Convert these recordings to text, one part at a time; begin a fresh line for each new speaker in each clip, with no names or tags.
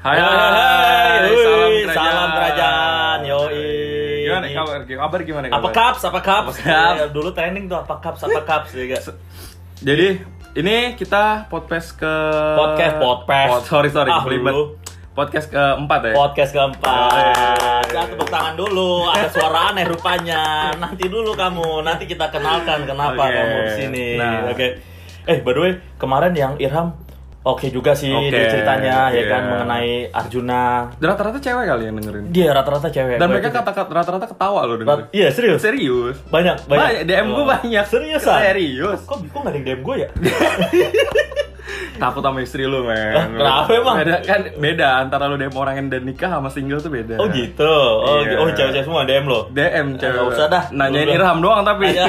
Hai,
Hai,
salam kerajaan.
salam kerajaan. Yoi.
Gimana kabar? Kabar gimana kabar?
Apa cups? Apa cups?
Apa cups?
Ya, Dulu trending tuh apa cups? Apa cups Iya, juga.
Jadi ini kita podcast ke
Podcast, podcast.
Pod- sorry sorry,
Ah,
kelibet.
lu.
Podcast keempat ya.
Podcast keempat.
Yoi.
Jangan tepuk tangan dulu. Ada suara aneh rupanya. Nanti dulu kamu. Nanti kita kenalkan kenapa
Oke.
kamu di sini.
Nah.
Oke. Eh, by the way, kemarin yang Irham oke juga sih
Oke.
dia ceritanya ya kan
Iya.
mengenai Arjuna.
Rata-rata cewek kali yang dengerin.
Dia rata-rata cewek.
Dan
Gua
mereka
juga-
kata rata-rata ketawa loh dengerin.
Rat- Iya, serius.
Serius.
Banyak, banyak.
DM gue banyak.
Seriusan?
Serius. Iya.
Kok, kok gak ada yang DM gue ya?
Takut sama istri lu,
Lah,
men.
kenapa emang?
Beda kan beda antara lu DM orang yang dan nikah sama single tuh beda.
Oh gitu. Oh,
Iya.
oh cewek-cewek semua DM lo.
DM cewek.
Nggak usah dah.
Nanyain
Lu-
Irham doang tapi.
Aja. ya.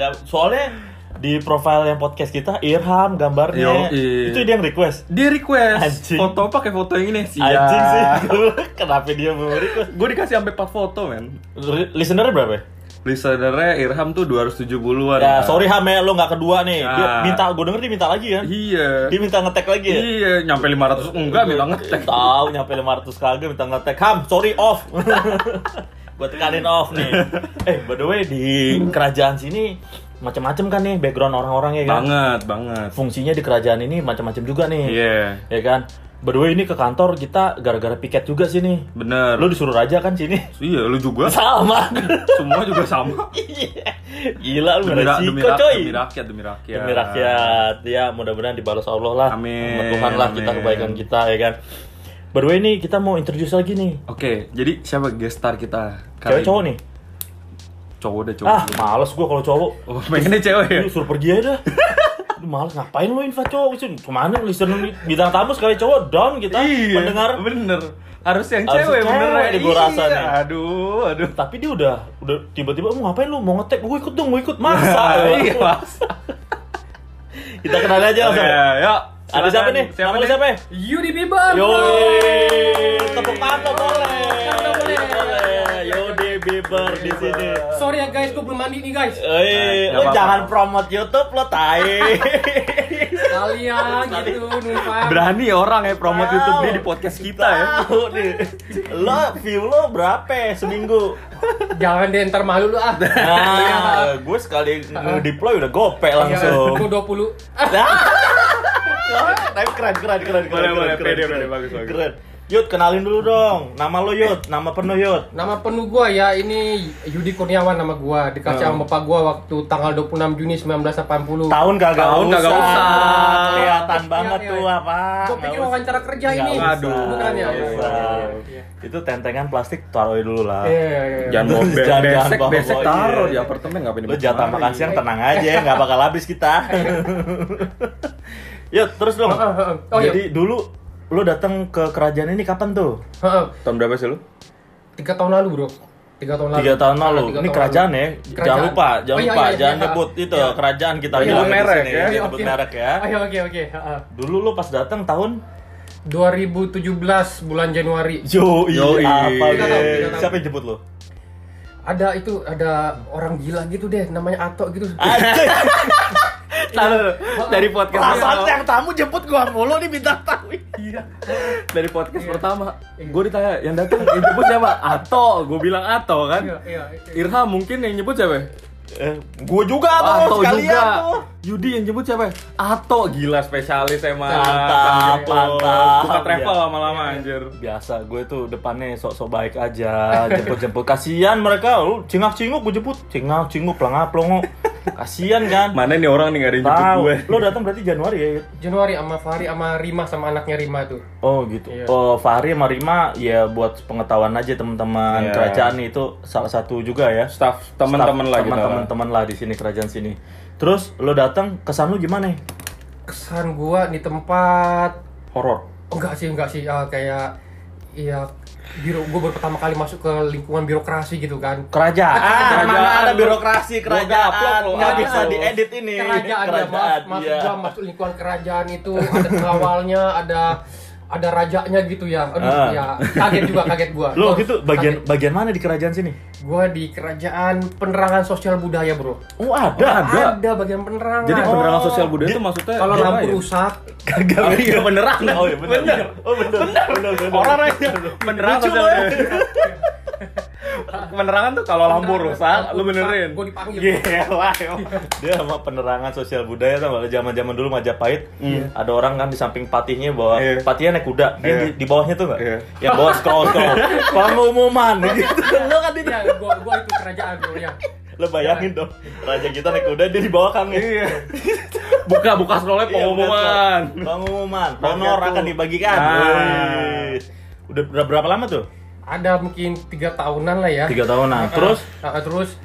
Siap. Soalnya di profile yang podcast kita Irham gambarnya
Yoi.
itu dia yang request.
Dia request
Anjing.
foto pakai foto yang ini sih.
Anjing sih. Kenapa dia mau request?
Gue dikasih sampai 4 foto, men.
Re- Listenernya berapa? ya?
Listenernya Irham tuh 270-an.
Ya,
Mas.
sorry Ham ya, lo nggak kedua nih. Dia
Ah.
minta, gue denger dia minta lagi kan.
Iya.
Dia minta ngetek lagi ya.
Iya, nyampe 500 enggak bilang
Iya.
ngetek.
Tahu nyampe 500 kagak minta ngetek. Ham, sorry off. Gue tekanin off nih. Eh, by the way di kerajaan sini macam-macam kan nih background orang-orangnya kan.
Banget, banget.
Fungsinya di kerajaan ini macam-macam juga nih.
Iya.
Ya kan? By the way ini ke kantor kita gara-gara piket juga sih nih.
Bener.
Lu disuruh raja kan sini.
iya, lu juga.
Sama.
Semua juga sama.
Iya. Gila lu
Demi, ra- demi,
resiko
ra-
coy.
demi rakyat, demi rakyat.
Demi rakyat. Ya, mudah-mudahan dibalas Allah lah.
Amin.
Sama Tuhan lah kita
Amin.
kebaikan kita ya kan. By the way nih kita mau introduce lagi nih.
Oke, jadi siapa guest star kita?
Cewek
kali
cowok
ini?
nih.
Cowok deh, cowok.
Ah, males gua kalau cowok.
Oh, pengennya cewek ya?
Lu suruh pergi aja dah. Lu males ngapain lu invite cowok sih? Kemana listener nih? bintang tamu sekali cowok down kita
Iya,
mendengar.
bener. Harus yang
Harus
cewek,
yang
bener Iya,
cewek deh, gua rasa nih.
Aduh, aduh.
Tapi dia udah udah tiba-tiba mau ngapain lu? Mau ngetek? Gua ikut dong, gua ikut. Masa?
Iya, masa.
Kita kenal aja
Oke,
langsung.
yuk. Iya,
Ada
Silakan.
siapa nih?
Siapa
Nama lu
nih?
siapa? ya?
Yudi Bieber.
Yoi, tepuk tangan lo boleh.
Tangan lo boleh.
Boleh. Yodi Bieber di sini.
Sorry ya guys, gue belum mandi nih guys.
Eh,
Nah, nggak
lo
apa-apa.
jangan promote YouTube lo tai.
Kalian gitu numpang.
Berani ya orang ya promote
Wow.
YouTube dia di podcast kita ya.
Tahu nih. Lo view lo berapa seminggu?
Jangan deh ntar malu lu ah.
Iya.
Nah, gue sekali nge-deploy udah gope
Gue
langsung.
20. Ah,
Nah. Tapi keren keren keren
Boleh,
keren. keren,
boleh,
keren,
pede,
keren.
pede, bagus, bagus.
Keren. Yud, kenalin dulu dong. Nama lo Yud, nama penuh Yud.
Nama penuh gua ya ini Yudi Kurniawan nama gua
Nah.
dikasih sama bapak gua waktu tanggal 26 Juni 1980.
Tahun kagak
Tahun kagak
usah.
usah.
Kelihatan
Iya,
banget
iya.
tua, Pak.
Gua pikir
Nggak
wawancara kerja
usah.
ini.
Nggak
Aduh.
usah.
Bukan ya.
Nggak
Iya,
usah.
iya, iya.
Itu tentengan plastik taruh dulu lah.
Iya, iya, iya.
Jangan
Jangan
bawa
jangan
besek,
bawa-
besek
bawa,
taruh
iya.
di apartemen ngapain
Lu
dibawa
jatah
kemari.
makan siang tenang aja, nggak bakal habis kita. Yud, terus dong.
Heeh, heeh. Oh, iya.
Jadi dulu lo datang ke kerajaan ini kapan tuh?
Heeh,
Tahun berapa sih lu?
Ah, Tiga tahun lalu bro. Tiga tahun lalu.
Tiga tahun
Karena
lalu.
tiga
Ini
tahun
kerajaan
lalu.
ya. Jangan
Kerajaan.
lupa, jangan
Oh, iya,
lupa,
iya,
jangan
iya.
nyebut itu
Iya.
kerajaan kita
Jangan
bilang di
merek
sini.
ya.
Jangan
Iya,
Nyebut
oke.
merek ya.
Oke, oke, oke. Ah, Heeh.
Dulu lo pas datang tahun
2017 bulan Januari.
Yo,
Yoi.
apa
Kita
tahu,
deh?
kita tahu.
Siapa yang jemput lo?
Ada itu ada orang gila gitu deh namanya Ato gitu.
Taruh dari podcast
Perasaan
pertama.
yang tamu jemput gua mulu nih bintang tamu.
Iya. Dari podcast pertama, gue Iya. ditanya yang datang yang nyebut siapa? Ato, gue bilang Ato kan.
Iya, iya.
Irham mungkin yang nyebut siapa?
Eh, gua juga
Ato
tuh
juga.
sekalian tuh.
Yudi yang nyebut siapa? Ato gila spesialis emang.
Mantap,
Ato.
mantap.
Suka travel
Iya.
lama-lama anjir.
biasa gue tuh depannya sok-sok baik aja jemput-jemput kasihan mereka lu cingak-cinguk gue jemput cingak-cinguk pelangap-pelongo kasihan kan
Mana nih orang nih gak ada yang jemput
tahu
gue?
lo datang berarti Januari ya Yud?
Januari sama Fahri sama Rima sama anaknya Rima tuh.
oh gitu
Iya.
oh Fahri sama Rima ya buat pengetahuan aja teman-teman
Iya.
kerajaan nih, itu salah satu juga ya
Staff teman-teman gitu.
Staff-
lagi.
teman-teman lah gitu. di sini kerajaan sini terus lo datang kesan lu gimana ya?
Kesan gua di tempat
horor.
enggak sih enggak sih ah, kayak ya biro gue baru pertama kali masuk ke lingkungan birokrasi gitu kan
kerajaan,
Kerajaan.
Mana ada birokrasi kerajaan
gaplok lo,
nggak
ah.
bisa diedit ini
kerajaan, ya mas masuk
Eh, iya.
gua masuk lingkungan kerajaan itu ada pengawalnya ada ada rajanya gitu ya. Aduh,
Ah.
ya kaget juga kaget gua.
Lo
Gua
gitu bagian bagian mana di kerajaan sini?
kaget. gua di kerajaan penerangan sosial budaya, Bro.
Oh ada.
Ada.
Ada bagian penerangan.
Jadi penerangan
Oh.
sosial budaya
Jadi
itu maksudnya
kalau
apa
lampu
ya?
rusak,
Kagak
Oh, iya,
bener.
beneran.
Oh iya bener.
Bener.
Oh bener. Bener. bener, bener.
Orang aja penerangan
Lucu,
sosial
loh.
budaya. Penerangan tuh kalau lampu rusak, lu benerin.
Gua dipanggil.
Iya.
Gila, emang.
Dia sama penerangan sosial budaya sama zaman-zaman dulu Majapahit. Ada orang kan di samping patihnya bawa
Iya.
patihnya naik kuda. Dia
Iya.
di, di bawahnya tuh enggak?
Iya.
Yang bawa scroll-scroll. Pengumuman gitu.
Lo kan tidak. Gua gua itu kerajaan, Bro, ya.
Lo bayangin dong. Raja kita naik kuda dia di bawah kang.
Iya. Buka buka scrollnya
Iya,
pengumuman.
bener, Bro. Pengumuman.
Bangga
Honor
tuh.
akan dibagikan.
Ah.
Wih. Udah udah berapa lama tuh?
Ada mungkin tiga tahunan lah ya.
Tiga tahunan.
Ah,
Terus
ah, terus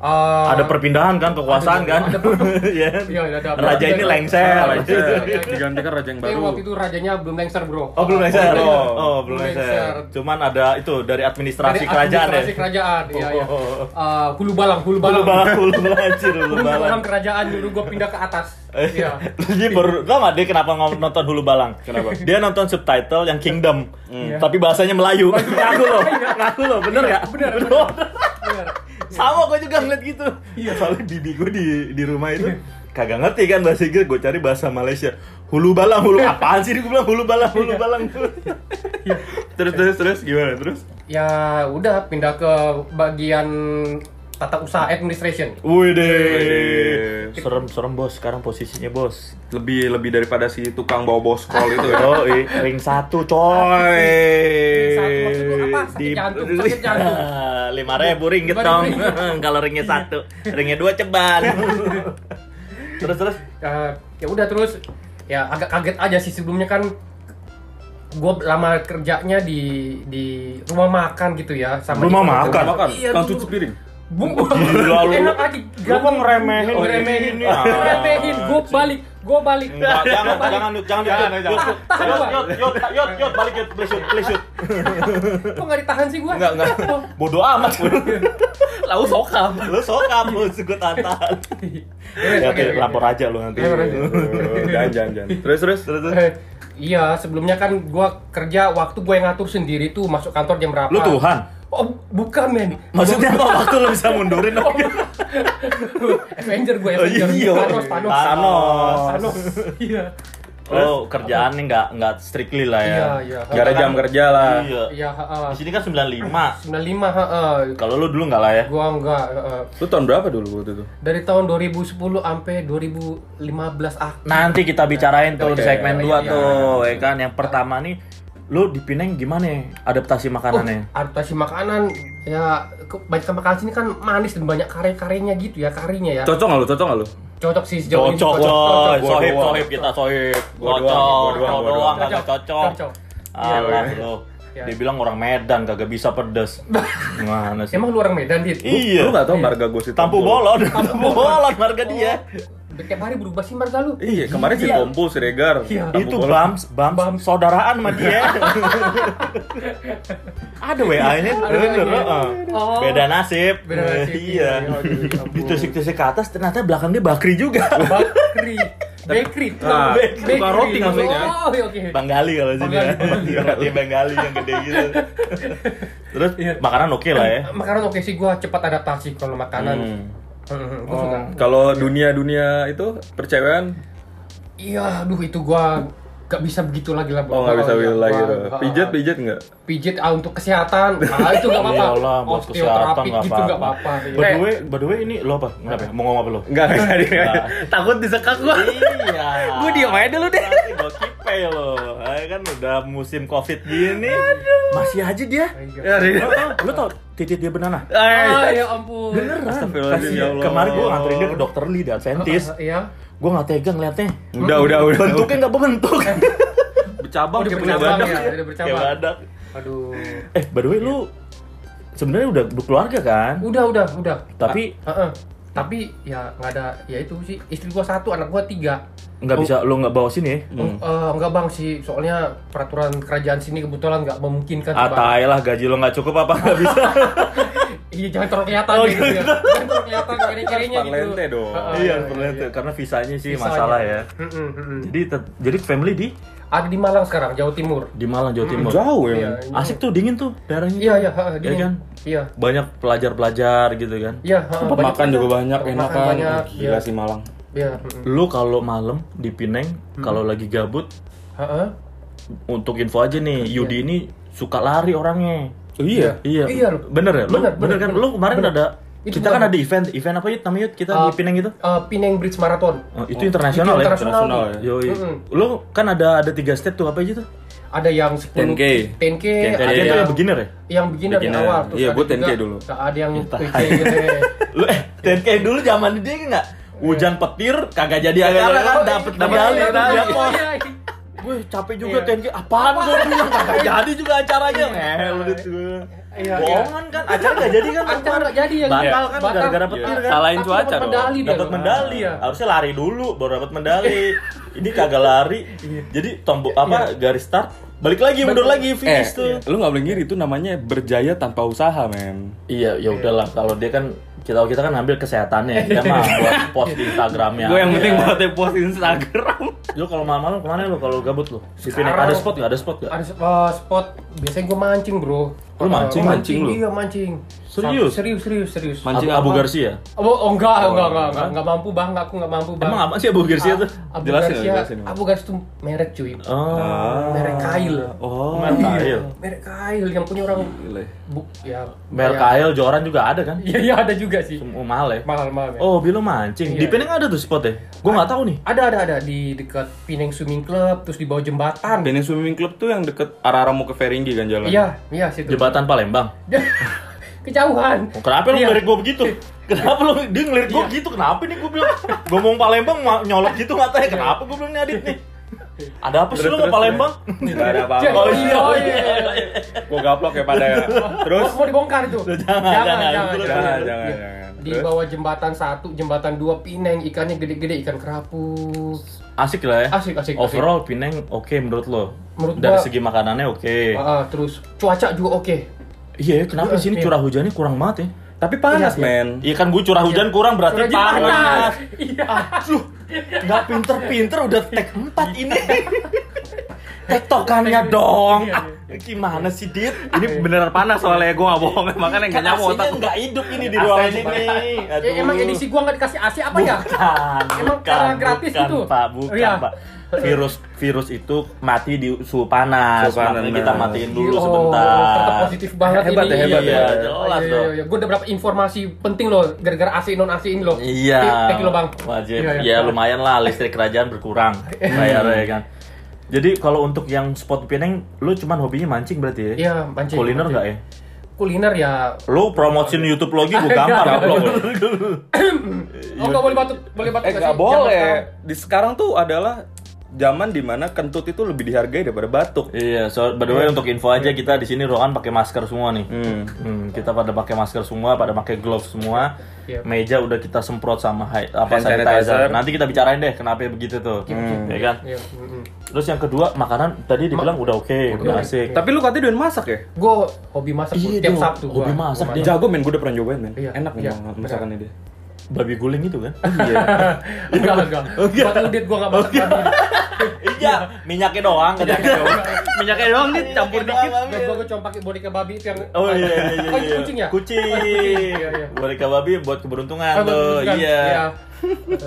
eh,
ada perpindahan kan kekuasaan kan?
ada-
Iya.
Iya, ada- ada-
Raja ini
ada-
Iya, Ah,
lengser.
ada- ada-
Digantikan kan raja yang
Eh,
baru.
waktu itu rajanya belum lengser, Bro.
Oh belum lengser.
belum.
Oh, oh, belum
Belum
lengser.
lengser.
Cuman ada itu dari administrasi
Dari
kerajaan ya.
administrasi kerajaan, iya, iya.
Oh, oh, oh.
Eh, hulu balang, hulu
Hulu
balang.
balang, hulu balang, anjir, hulu Eh.
Hulu
balang.
balang kerajaan dulu gua pindah ke atas. Iya.
Dia baru tau gak dia kenapa ngom- nonton hulu balang?
Kenapa?
Dia nonton subtitle yang Kingdom,
Iya.
tapi bahasanya Melayu. Ngaku loh, ngaku loh, bener gak?
Bener, bener. Bener. Iya.
Sama gue juga ngeliat gitu. Iya. Soalnya bibi gue di di rumah itu
Iya.
kagak ngerti kan bahasa Inggris, gue cari bahasa Malaysia. Hulu balang, hulu
Iya.
apaan sih? Gue bilang hulu balang, hulu balang.
Terus terus terus gimana terus?
Ya udah pindah ke bagian tata usaha administration.
Wih,
Wih
deh.
Serem, serem bos. Sekarang posisinya bos.
Lebih lebih daripada si tukang bawa bawa scroll itu ya.
Oh, ring satu coy.
Satu maksud lu apa? Sakit
Di-
jantung, sakit jantung.
lima ribu ringgit
Lima
dong
ribu Iya.
kalau ringnya satu ringnya dua ceban terus terus
Eh, ya udah terus ya agak kaget aja sih sebelumnya kan gue lama kerjanya di di rumah makan gitu ya sama
Rumah
istri
makan?
gua.
Makan,
iya,
tukang
dulu.
cuci piring.
Bung,
Gila, lu-
enak aja.
lu kok ngeremehin ini?
Oh, ngeremehin,
Ah,
ngeremehin. Gue balik, gue balik.
Enggak, jangan,
Gua balik.
jangan, Yud, jangan, jangan,
Jangan, jangan.
Yud, Yud, Yud, Yud, Yud, Yud, balik, Yud, please, Yud, please, Yud.
Kok nggak ditahan sih Oh. gue?
Enggak, enggak. Bodoh amat,
Lalu sokam.
lu sokam, lu suku tantan. Ya, oke,
Iya.
lapor aja lu nanti.
Lapor aja.
jangan jangan jangan. Terus terus.
Terus, terus.
Eh, Iya, sebelumnya kan gue kerja waktu gue ngatur sendiri tuh masuk kantor jam berapa.
Lu Tuhan?
Oh, bukan men.
Maksudnya apa waktu lu bisa mundurin?
Oh, Avenger gue,
Oh,
Avenger.
iya.
Thanos, Thanos.
Thanos.
Thanos. Iya.
Oh, kerjaannya nggak nggak strictly lah ya.
Iya, iya.
Gara jam kerja lah.
Iya.
Iya, heeh.
Di sini kan 95.
95, heeh.
Kalau lu dulu nggak lah ya.
Gua enggak, heeh.
Lu tahun berapa dulu waktu itu?
Dari tahun 2010 sampai 2015 ah.
Nanti kita bicarain tuh di
Oke.
segmen
Iya,
2
iya.
tuh, ya kan. Yang pertama nih, lu di Pineng gimana ya adaptasi makanannya?
uh, Adaptasi makanan ya banyak makanan sini kan manis dan banyak kare-karenya gitu ya, karinya ya.
Cocok nggak lu? Cocok nggak lu?
Cocok sih sejauh ini.
cocok, coy.
Gua
Sohib,
doang.
sohib kita sohib.
Gua
Cocok,
doang, gua
gua
doang, gua
doang
doang.
kagak cocok.
Cocok.
Iya,
Alah lu.
Iya.
Dia bilang orang Medan kagak bisa pedes. Gimana sih?
Emang lu orang Medan, Dit?
Lu
Iya.
nggak tahu marga gue si
Tampu bolon, tampu bolon marga dia.
Tiap hari berubah sih marga lu.
Iya, kemarin si
Iya.
Tompo, si Regar.
Iya.
Tampu
itu
bolon.
bams, bams,
Bams.
saudaraan sama dia. Ada WA-nya,
Ada
bener,
WA-nya.
heeh.
Oh.
beda nasib.
Beda nasib,
Iya.
iya, aduh, ya ampun.
Ditusik-tusik ke atas, ternyata belakang dia bakri juga.
Bakery. Bakery.
Nah,
Bakery.
tukang roti maksudnya.
Oh, oke oke.
Banggali kalau sini ya.
Banggali. Iya.
Roti Banggali yang gede gitu. Terus makanan oke lah ya.
Makanan oke sih gua cepat adaptasi kalau makanan.
Hmm.
Hmm, gua suka.
Kalau dunia-dunia itu percewaan,
Iya, aduh itu gua gak bisa begitu lagi lah.
oh nggak bisa
iya,
will lagi
gua-
tuh.
gua-
Pijat pijat nggak?
Pijit ah, untuk kesehatan. Ah, itu gak apa-apa.
Iyalah, Iya buat kesehatan
Osteoterapi
nggak
gitu gak
apa-apa.
apa-apa.
By
iya.
the way, by the way ini lo apa? Kenapa? ya? Mau ngomong apa lo?
Enggak, enggak,
Nggak.
Takut disekak gua.
Iya.
Gua diem aja dulu deh.
Nanti gua kipe lo. Ah, Kan udah musim Covid gini. Masih aja dia.
Ya, Rin.
Lo tau titik dia benana?
oh, iya. Ah,
Eh.
ya ampun.
Astagfirullahaladzim, ya Allah.
iya. Kemarin gue nganterin dia ke dokter Lee di Adventist.
Ah, Iya.
Gue nggak tega ngeliatnya.
Udah, udah, udah.
Bentuknya nggak berbentuk.
bercabang
Oh, dia
kayak punya
bercabang
badak.
ya, dia
Kayak
bercabang.
badak.
Aduh.
Eh, by the way lu sebenarnya udah berkeluarga kan?
Udah, udah, udah.
Tapi
Heeh. Tapi ya nggak ada, ya itu sih istri gua satu, anak gua tiga.
nggak bisa lu nggak bawa sini. ya?
Hmm.
Eh, enggak bang sih, soalnya peraturan kerajaan sini kebetulan nggak memungkinkan. sih,
Ah,
Bang.
tai lah gaji lo nggak cukup apa nggak bisa.
Iya jangan terlalu kelihatan
Oh,
gitu
iya.
ya. Jangan terlalu kelihatan kiri-kirinya gitu.
Parlente dong.
Heeh,
Iya, perlu itu. karena visanya sih
iya. Visanya.
masalah ya.
Mm-mm, mm-mm.
Jadi tet- jadi family di
Ada di Malang sekarang, Jawa Timur.
Di Malang, Jawa Timur.
Jauh ya.
Iya,
men.
ini-
Asik tuh dingin tuh daerahnya.
Iya,
tuh.
iya, ha, ha,
Iya
dingin.
kan?
Iya.
Banyak pelajar-pelajar gitu kan.
Iya, ha,
Tempat
banyak-
makan juga banyak,
Tempat
enak
makan
kan.
banyak,
Gila
iya.
sih Malang.
Iya, heeh.
Lu kalau malam di Pineng,
Hmm.
kalau lagi gabut,
Heeh.
untuk info aja nih, Yudi ini suka lari orangnya.
Oh, iya.
Iya.
Iya, lu.
Bener ya? Lu,
Bener,
bener,
bener,
kan?
bener.
Lu kemarin
Bener.
ada
Itu
kita
gua-
kan ada event, event apa yuk namanya Yud? kita
Ah,
di Pineng gitu?
Eh, Penang Bridge Marathon.
Oh, itu internasional ya?
internasional.
Internasional ya.
Yoi.
Mm-mm.
Lu kan ada ada tiga step tuh apa aja tuh?
Ada yang 10
10K.
10K,
Ada
Ada
yang-
itu yang beginner ya?
yang beginner, yang
iya. Beginner.
awal terus
Iya,
ada
gua 10K
juga-
dulu. Iya,
Nah, ada yang 10K gitu ya.
Lu eh, TNK dulu zaman dia nggak hujan petir kagak jadi
Iya. Kagak
acara
jadi.
kan dapat
Dapat
medali
medali.
kan
Iya,
dia pos. Gue capek juga
Iya.
TNK apaan gue bilang kagak jadi juga acaranya. Eh lu itu.
Iya,
Bohongan kan acara nggak jadi kan
Acara nggak jadi ya,
batal
iya.
kan
Batal.
gara-gara
Iya.
petir kan.
Salahin
Tapi
cuaca
dapat
dong.
medali dia.
Dapat
loh.
medali. ya?
Iya.
Harusnya lari dulu baru dapat medali. Ini kagak lari.
Iya.
Jadi tombol apa garis start balik lagi mundur lagi
Eh,
finish tuh.
lu nggak boleh ngiri itu namanya berjaya tanpa usaha, men.
Iya, ya udahlah. Kalau dia kan kita kita kan ambil kesehatannya, dia mah buat post di Instagramnya.
Gue yang penting
Iya.
buat post Instagram.
Lu kalau malam-malam kemana lu kalau gabut lu? Di Pinang
Sekarang-
ada spot nggak? Ada spot nggak?
Ada eh, spot biasanya gue mancing, Bro.
Lu mancing?
Eh,
Mancing lu?
Iya, mancing.
Serius?
Sam- Serius, serius, serius.
Man- Mancing
Abu, Abu
apa?
Garcia.
Oh, oh, enggak, enggak, enggak, enggak, enggak mampu, Bang. Enggak, aku enggak mampu, Bang.
Emang apa sih Abu Garcia tuh?
Abu
Jelasin,
Garcia,
jelasin.
Abu Garcia itu merek cuy. Nah.
Oh.
Merek kail. Nah. Iya,
Oh,
Mel Kail.
Merek kail yang punya orang
gile.
bu, ya.
Mel
ya-
Kail Joran juga ada kan?
Iya, iya ada juga sih.
Oh, mahal ya.
Mahal-mahal. ya.
Oh, Bilo mancing. Di
Iya.
Pinang ada tuh spot ya? Gua nggak tahu nih.
Ada ada ada di dekat Pineng Swimming Club terus di bawah jembatan.
Penang Swimming Club tuh yang deket arah-arah mau ke Feringgi kan jalan.
Iya, iya situ.
Jembatan Palembang.
Kejauhan.
Oh, Kenapa lu
Iya.
ngelirik gua begitu? Kenapa lu dia ngelirik gua gitu? Kenapa nih gua bilang ngomong Palembang ma- nyolok gitu matanya?
Iya.
Kenapa gua bilang nih Adit nih? Ada apa sih
Terus,
lu sama
terus,
Palembang?
Nggak ada apa-apa.
Cek.
Oh iya,
Oh,
oh
iya.
iya.
Gua gaplok ya pada ya. Terus
mau, mau dibongkar itu.
jangan, jangan.
jangan
Jangan,
Iya.
jangan jangan.
Di
Terus?
bawah jembatan satu, jembatan dua Pineng ikannya gede-gede ikan kerapu.
Asik lah ya.
Asik, asik, asik.
Overall Pineng oke menurut lo.
Menurut
Dari
gua-
segi makanannya oke.
Ah, ah, terus cuaca juga oke.
Iya, kenapa di sini
Iya.
curah hujannya kurang banget ya?
Tapi panas, men.
Iya kan gue curah hujan kurang berarti
Curah hujan panas.
panas.
Iya.
Aduh, nggak pinter-pinter udah tag 4
Iya.
ini. Tektokannya dong.
Iya,
Ah, gimana sih, Dit?
Ini beneran panas soalnya gua nggak bohong, makanya nggak nyamuk
Kan
otak.
AC-nya nggak hidup ini di ruangan
AC-nya
ini.
Ya, emang edisi gua nggak dikasih AC apa ya?
Bukan,
Emang karena gratis
bukan,
itu?
Pak, bukan,
Oh, iya.
Pak. Virus virus itu mati di suhu panas.
Suhu panas.
Makanya kita matiin dulu
Oh, tetap
sebentar.
positif banget
Hebat
ini.
ya, hebat
Iya,
ya.
jelas
Iya,
dong.
iya, iya. Gua udah berapa informasi penting loh gara-gara AC non AC ini loh.
Iya.
Thank- Thank you loh, Bang.
Wajib.
Iya,
Ya,
iya. Eh.
lumayan lah listrik kerajaan berkurang bayarnya kan. Jadi kalau untuk yang spot Pineng, lu cuman hobinya mancing berarti ya?
Iya, mancing.
Kuliner
mancing.
nggak ya?
Kuliner ya
Lu promosin YouTube lagi gue gampar
Nggak,
gablok.
nggak, Oh, nggak boleh batuk, boleh batuk
Eh
nggak
nggak
sih?
boleh.
Jangan
Di sekarang tuh adalah zaman dimana kentut itu lebih dihargai daripada batuk.
Iya, so by the way untuk info aja kita di sini ruangan pakai masker semua nih.
Hmm.
Hmm, kita pada pakai masker semua, pada pakai glove semua.
Yep.
Meja udah kita semprot sama hi- apa
Hand
sanitizer.
sanitizer.
Nanti kita bicarain deh kenapa begitu tuh. Ya kan?
Iya, mm-mm.
Terus yang kedua, makanan tadi dibilang udah oke, udah asik.
Tapi lu katanya doyan masak ya?
Gua hobi masak gua. tiap
dong,
Sabtu.
Iya, hobi
gua.
masak
Gua
dia.
Jago men, gue udah pernah nyobain men.
Iya.
Enak
Iya.
memang masakannya dia. Iya.
Babi guling itu kan?
Enggak, enggak. Buat ngedit gua enggak masak.
iya, minyaknya doang. Minyaknya doang.
Minyaknya doang nih
Campur dikit.
Gua gua gua cuma pakai boneka babi itu yang
iya. Oh iya iya iya.
Oh, itu
iya.
kucing ya?
Kucing.
Oh, itu kucing. Iya, iya.
Boneka babi buat keberuntungan
Ah,
tuh. Iya.
bukan, iya.
Eh.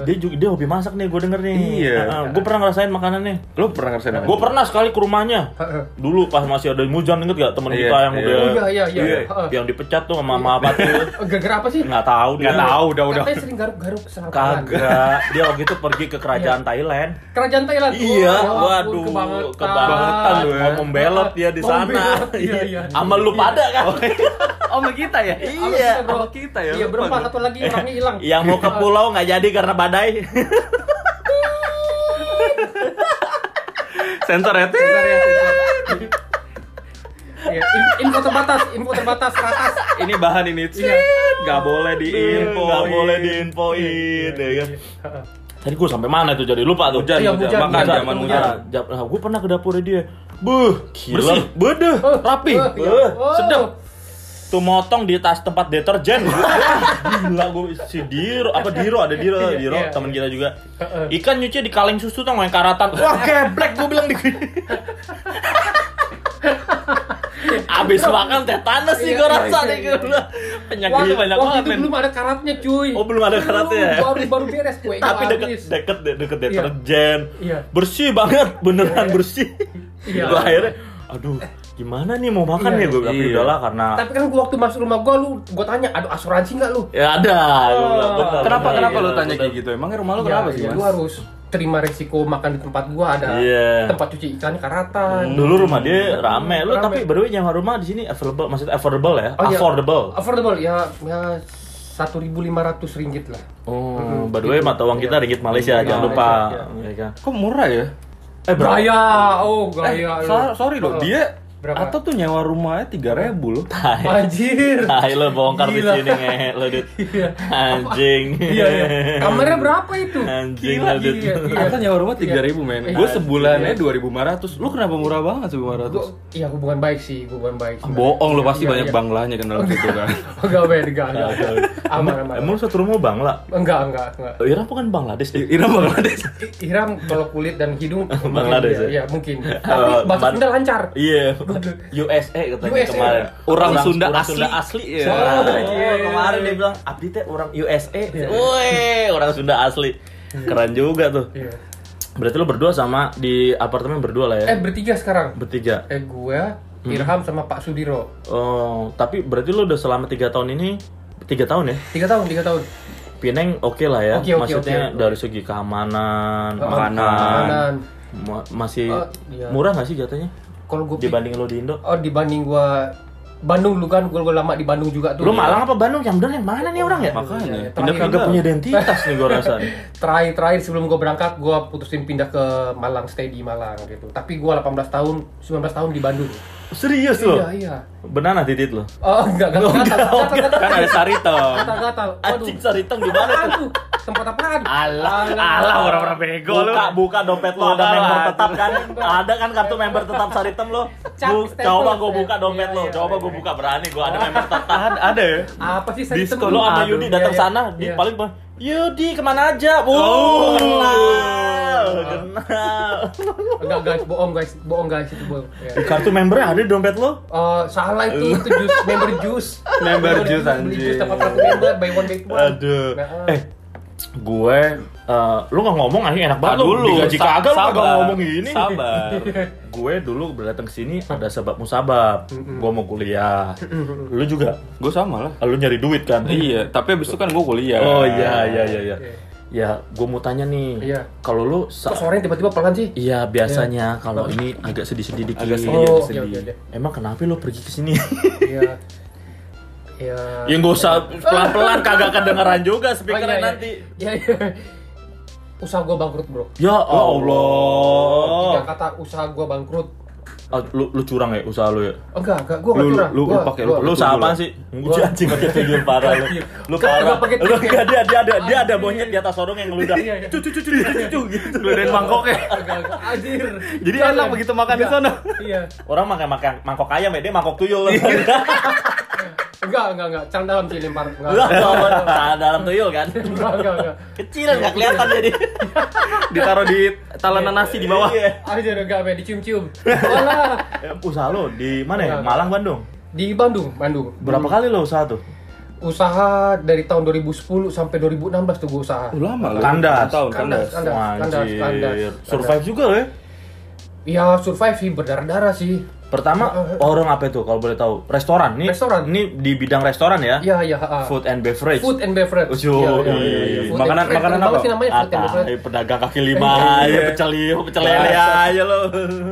Dia juga dia hobi masak nih, gue denger nih.
Iya.
gue pernah ngerasain makanannya.
Lu pernah ngerasain apa?
Gue pernah sekali ke rumahnya.
Heeh.
Dulu pas masih ada Mujan inget gak temen
Iya,
kita yang
iya.
udah
Oh,
iya, iya, iya. Heeh. Iya. Oh,
yang dipecat tuh sama sama apa tuh?
Gara-gara apa sih?
Nggak tahu dia.
Nggak tahu, udah udah.
Katanya sering garuk-garuk serangan.
Kagak. Dia waktu itu pergi ke kerajaan Thailand.
Kerajaan Thailand.
Iya,
Wah, Iya. ya ampun,
waduh,
kebangetan.
kebangetan,
lu ya.
mau membelot dia di sana.
Membelot, iya, iya.
Sama lu pada kan.
Oh, sama kita ya?
Iya, bro.
sama kita ya.
Iya,
lupa
berempat
gua.
satu lagi orangnya hilang.
Yang mau ke pulau nggak jadi karena badai.
Sensor ya.
Bentar ya, bentar. Iya, in- info terbatas, info terbatas ratas.
Ini bahan ini. Iya. Gak boleh diinfo.
Nggak boleh diinfoin. ya kan? Tadi gue sampai mana tuh jadi lupa tuh.
Hujan,
Iya, hujan,
hujan. Makan
hujan.
zaman
Hujan.
hujan.
gue pernah ke dapurnya dia. Beuh, gila.
Bersih.
Bedeh,
Oh,
rapi.
oh, iya.
Beuh,
Oh.
sedap. tuh motong di tas tempat deterjen gila gue si Diro apa Diro ada Diro
Iya,
Diro
iya,
teman
iya.
kita juga
Heeh. Iya.
ikan nyuci di kaleng susu tau nggak yang karatan wah geblek gue bilang di abis makan tetanus sih gue
Iya,
rasa
iya,
deh
iya.
gue penyakitnya
Wah,
gitu banyak
waktu
banget
itu
men
belum ada karatnya cuy.
oh belum ada karatnya ya?
Baru baru beres gue.
tapi deket deket de- deket
Iya.
deterjen
Iya.
bersih banget beneran bersih
Iya.
Gua akhirnya aduh gimana nih mau makan
Iya.
ya gue bilang
Iya.
udahlah karena
Tapi kan gua waktu masuk rumah gua lu gua tanya, "Ada asuransi enggak lu?"
ya ada gua bilang,
Oh.
"Bener,
Kenapa
bener,
kenapa
bener,
lo tanya
bener."
kayak gitu? Emangnya rumah lo
Iya,
kenapa sih?
iya,
Mas?
Lu harus terima resiko makan di tempat gua ada
Iya.
tempat cuci ikan karatan.
Hmm. dulu rumah
Hmm.
dia rame lo
Rame.
tapi baru yang rumah di sini available maksud affordable ya
Oh, iya.
affordable
Affordable ya ya 1.500 ringgit lah.
Oh, by the way mata uang kita ringgit Malaysia,
Iya,
jangan
Malaysia,
lupa.
iya.
Iya kan?
Kok murah ya?
Eh, berapa?
Gaya, oh gaya.
eh,
lu.
so- sorry loh,
Oh.
dia
Berapa?
atau tuh nyewa rumahnya 3000 loh.
Tai.
Anjir.
Tai lo bongkar di
Gila.
sini nge, lo dit.
Iya.
Anjing.
Iya, iya. Kamarnya berapa itu?
Anjing
Gila,
lo dit.
iya, iya.
Atau nyewa rumah 3000 men.
Iya.
Gue sebulannya 2500. Lu kenapa murah banget
Gua,
1500?
iya hubungan baik sih, hubungan baik. sebenarnya.
Bohong lu pasti
Iya,
banyak
iya.
banglanya kan dalam situ kan.
Enggak, Ben, enggak, enggak. Aman, aman.
Emang lu satu rumah Bangla?
Enggak, enggak, enggak.
Iran bukan Bangladesh deh.
Ira Bangladesh.
I- Iram kalau kulit dan hidung mungkin
Bangladesh,
iya,
ya?
iya, mungkin. Tapi bahasa
Ban-
Sunda lancar.
Iya, USA katanya
USA.
kemarin.
Orang Sunda
orang
asli.
Sunda asli ya.
Oh, iya.
kemarin dia bilang Abdi teh orang USA. Woi, orang Sunda asli. Keren juga tuh.
Iya.
Berarti lo berdua sama di apartemen berdua lah ya.
Eh, bertiga sekarang.
Bertiga.
Eh, gua, Irham sama Pak Sudiro.
Oh, tapi berarti lo udah selama tiga tahun ini tiga tahun ya?
Tiga tahun, tiga tahun.
Pineng oke lah ya.
Oke, oke,
Maksudnya
oke.
dari segi keamanan,
Keamanan.
makanan.
Makanan.
Ma- masih
Eh, iya.
murah nggak sih jatuhnya?
Kalau gua pi-
Dibanding lo di Indo?
oh dibanding gua Bandung lu kan gua, gua lama di Bandung juga tuh.
Lu Malang apa Bandung? Yang bener yang mana nih orang ya?
Makanya.
Pindah
Terakhir
kagak
juga.
punya identitas nih gue rasa. nih.
Terakhir-terakhir sebelum gua berangkat, gua putusin pindah ke Malang, stay di Malang gitu. Tapi gua 18 tahun, 19 tahun di Bandung.
Serius lo?
Iya, iya.
Benar nah titit lo?
Oh, enggak, enggak, enggak, enggak, enggak,
Kan ada Saritong.
enggak, enggak, tahu. Waduh.
Anjing sariteng di mana
Apaan
tuh?
tuh? Tempat apaan?
Alah,
alah, orang-orang bego lu.
Buka, buka dompet lo, ada
Buka
member
lah.
tetap kan? ada kan kartu member tetap Saritem lo?
Cak,
Bu,
stempel,
coba gue
stempel.
buka dompet
Iya,
lo,
iya,
coba
iya,
gue
iya.
buka berani, gue ada member tetap.
Ada, ada ya?
Apa sih saya
Diskon
Lo sama
Aduh.
Yudi datang
Iya, iya.
sana, di
Iya.
paling bawah, Yudi kemana aja? Wuh,
Oh.
kenal, kenal.
Enggak guys, bohong guys, bohong guys itu bohong. Ya.
Di Kartu membernya ada di dompet lo?
Eh, salah itu, itu jus, member jus.
Member jus,
Beli
anjing.
jus dapat satu member, buy one get one.
Aduh.
Nah,
Eh, gue eh, lu nggak ngomong anjing enak banget
Tahan
lu.
dulu.
Digaji
Sa-
kagak lu
sabar.
kagak ngomong ini.
Sabar.
gue dulu datang ke sini ada sebab musabab. Gue mau kuliah. lu juga.
Gue sama lah.
Lu nyari duit kan?
Iya, tapi abis itu kan gue kuliah.
Oh iya iya iya iya.
Oke.
Ya, gue mau tanya nih.
Iya.
Kalau lu sa-
Kok sore tiba-tiba pelan sih?
Iya, biasanya kalau ini agak sedih-sedih dikit.
Agak sedih,
Oh,
agak
iya, iya,
sedih.
iya.
Emang kenapa lu pergi ke sini?
Iya. Iya.
ya nggak usah pelan-pelan kagak kedengeran juga speakernya
Oh, iya, iya.
nanti.
Iya, iya. Usaha gua bangkrut, Bro.
Ya Allah.
Oh.
Tiga kata usaha gua bangkrut.
Ah, lu, lu curang ya usaha lu ya?
Enggak, enggak, gua enggak
Lu- lu-
curang.
lu- lu
Gua-
pakai, lu
gua-
Lu usaha apaan sih? Uji anjing pakai tuyul parah lu. Lu
Kan
parah.
nggak pakai
Lu
tuyul.
dia dia dia ada dia ada monyet di atas sorong yang ngeludah.
Iya, iya.
Cu cu cu cu cu, cu, gitu.
Gedein mangkoknya.
Agak- agak- Anjir.
Jadi
Jangan.
enak begitu makan di sana.
Iya.
Orang makan makan mangkok ayam ya, dia mangkok tuyul.
Enggak, enggak, enggak. Cang dalam sih lempar. Enggak.
Lah, tahan dalam tuyul kan.
Enggak, enggak, enggak.
Kecil nggak kelihatan jadi.
Ditaruh di talenan nasi di bawah.
Iya.
Anjir, enggak, Be. Dicium-cium. Walah.
Eh, Usaha lo di mana
Iya.
ya? Malang, Bandung.
Di Bandung, Bandung.
Berapa kali lo usaha tuh?
Usaha dari tahun 2010 sampai 2016 tuh gue usaha.
Lama lah.
Kandas.
Tahun
Kandas.
kandas.
Kandas, kandas, kandas.
Anjir. Survive juga lo ya.
Ya survive sih berdarah-darah sih.
Pertama orang apa itu kalau boleh tahu? Restoran nih.
Restoran.
Ini di bidang restoran ya.
Ya ya. ah.
Food and beverage.
Food and beverage. Iya,
Ujo, iya.
Food and
Iya, Makanan-
beverage.
makanan
Keren banget
apa?
sih namanya food and
Atah,
beverage.
eh, pedagang kaki lima,
Iya.
ya pecel liu, pecel lele aja lo.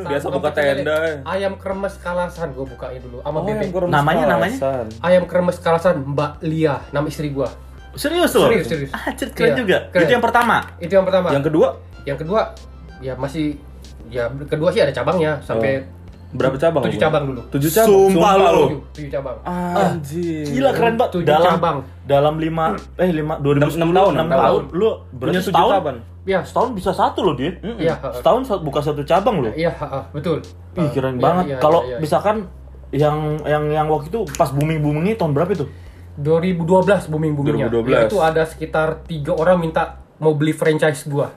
Biasa
Sama
buka
pecel lele.
tenda.
eh.
Ayam kremes kalasan gue bukain dulu sama
Oh,
bebek.
Namanya, namanya?
Ayam kremes kalasan Mbak Lia, nama istri gue.
Serius lo?
Serius, serius.
Anjir, keren
Iya,
juga.
keren.
Itu yang pertama.
Itu yang pertama.
Yang kedua
Yang kedua, ya masih ya kedua sih ada cabangnya sampai
berapa cabang?
tujuh
Bu?
cabang dulu.
Tujuh cabang. Ah,
Sumpah lo.
Tujuh, tujuh cabang.
Ah.
Anjir.
Gila keren banget.
Iya, Tujuh
dalam
cabang.
dalam lima eh lima dua ribu
Enam- enam tahun,
enam
enam
tahun.
tahun.
Lu berarti
Punya tujuh
setahun Nah,
cabang.
Ya,
setahun bisa satu lo dia.
Iya.
Setahun sa- buka satu cabang lo.
iya, ha, ha, betul.
Ih keren
Iya,
banget.
iya,
Kalau
iya, iya.
misalkan yang yang yang waktu itu pas booming boomingnya tahun berapa itu?
2012 booming boomingnya.
2012.
Itu ada sekitar tiga orang minta mau beli franchise gua.